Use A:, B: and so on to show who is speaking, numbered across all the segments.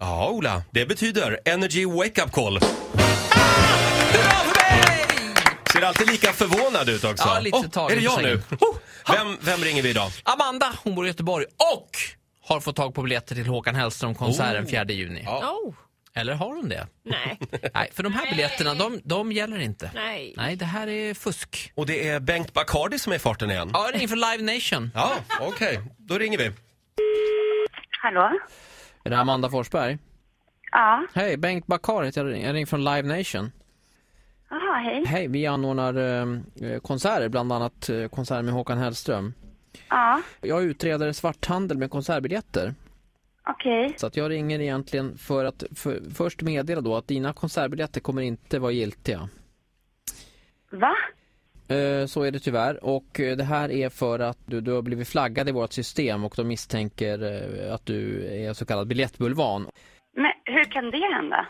A: Morgonskola, det betyder Energy Wake Up Call. Ah! Hurra för mig! Ser alltid lika förvånad ut också.
B: Ja, lite
A: oh,
B: tagen
A: är det
B: på
A: jag nu?
B: sängen.
A: Oh, vem, vem ringer vi idag?
B: Amanda, hon bor i Göteborg och har fått tag på biljetter till Håkan Hellström-konserten 4 juni.
C: Oh,
B: Eller har hon det?
C: nej.
B: Nej, för de här biljetterna, de, de gäller inte.
C: Nej.
B: Nej, det här är fusk.
A: Och det är Bengt Bacardi som är i farten igen.
B: Ja, det är inför Live Nation.
A: Ja, okej. Då ringer vi.
D: Hallå?
B: Är det Amanda Forsberg?
D: Ja.
B: Hej, Bengt Bakar heter jag. Jag ringer från Live Nation.
D: Jaha, hej.
B: Hej, vi anordnar eh, konserter, bland annat eh, konserter med Håkan Hellström.
D: Ja,
B: Jag utreder svarthandel med konsertbiljetter.
D: okej.
B: Så att jag ringer egentligen för att för, först meddela då att dina konsertbiljetter kommer inte vara giltiga.
D: Va?
B: Eh, Så är det tyvärr och eh, det här är för att du, du har blivit flaggad i vårt system och de misstänker eh, att du är så kallad biljettbulvan.
D: Men hur kan det hända?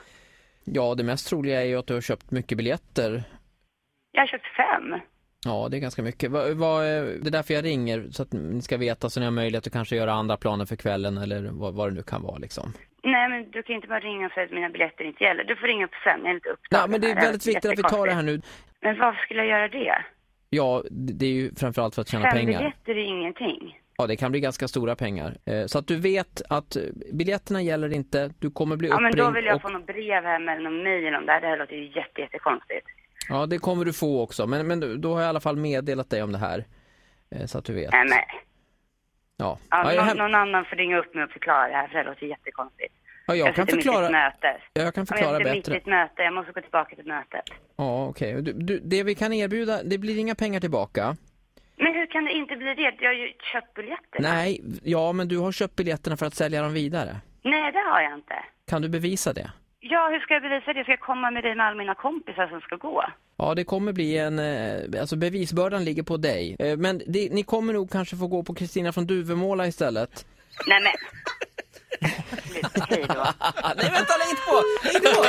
B: Ja, det mest troliga är ju att du har köpt mycket biljetter.
D: Jag har köpt fem.
B: Ja, det är ganska mycket. Va, va, eh, det är därför jag ringer, så att ni ska veta så ni har möjlighet att kanske göra andra planer för kvällen eller vad, vad det nu kan vara liksom.
D: Nej, men du kan inte bara ringa och säga att mina biljetter inte gäller. Du får ringa upp sen, jag är lite
B: Nej,
D: upptagen.
B: men det är
D: här.
B: väldigt viktigt att vi tar det här nu.
D: Men varför skulle jag göra det?
B: Ja, det det är ju framförallt för att tjäna
D: Fem
B: pengar.
D: biljetter är ingenting.
B: Ja, det kan bli ganska stora pengar. Eh, Så att du vet att eh, biljetterna gäller inte, du kommer bli
D: Ja, men
B: uppringd
D: då vill jag
B: och...
D: få något brev hem eller någon mejl om det här. Det här låter ju jätte, jättekonstigt.
B: Ja, det kommer du få också. Men, men du- då har jag i alla fall meddelat dig om det här. Eh, Så att du vet.
D: Nej, men
B: Ja.
D: ja,
B: Ja, jag,
D: någon,
B: hem-
D: någon annan får ringa upp mig och förklara det här, för det här låter jättekonstigt.
B: ja, jag kan
D: sitter mitt i
B: förklara,
D: ett möte.
B: Ja, jag kan
D: Ja, men
B: förklara
D: jag sitter mitt i
B: bättre.
D: ett möte, jag måste gå tillbaka till mötet.
B: Ja, okej. Du, du, det vi kan erbjuda, det blir inga pengar tillbaka.
D: Men hur kan det inte bli det? Jag har ju köpt biljetter.
B: Nej, ja, men du har köpt biljetterna för att sälja dem vidare.
D: Nej, det har jag inte.
B: Kan du bevisa det?
D: Ja, hur ska jag bevisa det? Ska jag komma med dig med alla mina kompisar som ska gå?
B: Ja, det kommer bli en... eh, Alltså bevisbördan ligger på dig. Eh, Men det, ni kommer nog kanske få gå på Kristina från Duvemåla istället.
D: Nej, men... Lite tid då.
B: Ah, Nej, vänta, lägg inte på! Lägg inte på!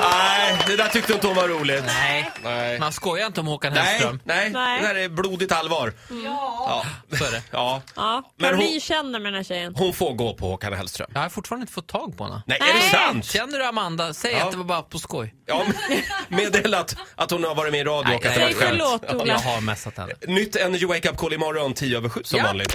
A: Nej, det där tyckte inte hon var roligt.
B: Nej,
A: Nej.
B: man skojar inte om Håkan
A: Nej,
B: Hellström.
A: nej,
C: Nej.
A: det där är blodigt allvar. Ja.
B: Mm. Så är det.
A: ja.
C: Ja,
A: Men
C: men
A: hon-
C: ni känner med den här tjejen.
A: Hon får gå på Håkan Hellström.
B: Jag har fortfarande inte fått tag på honom.
A: Nej, är det
C: Nej.
A: sant?
B: Känner du Amanda? Säg
A: Ja.
B: att det var bara på skoj.
A: Ja, men- meddelat att hon har varit med i radio och att det var ett
C: nej,
A: skämt.
C: förlåt, Ola.
B: Jag har messat henne.
A: Nytt Energy Wake Up Call imorgon 10 över 7 som
B: Ja.
A: vanligt.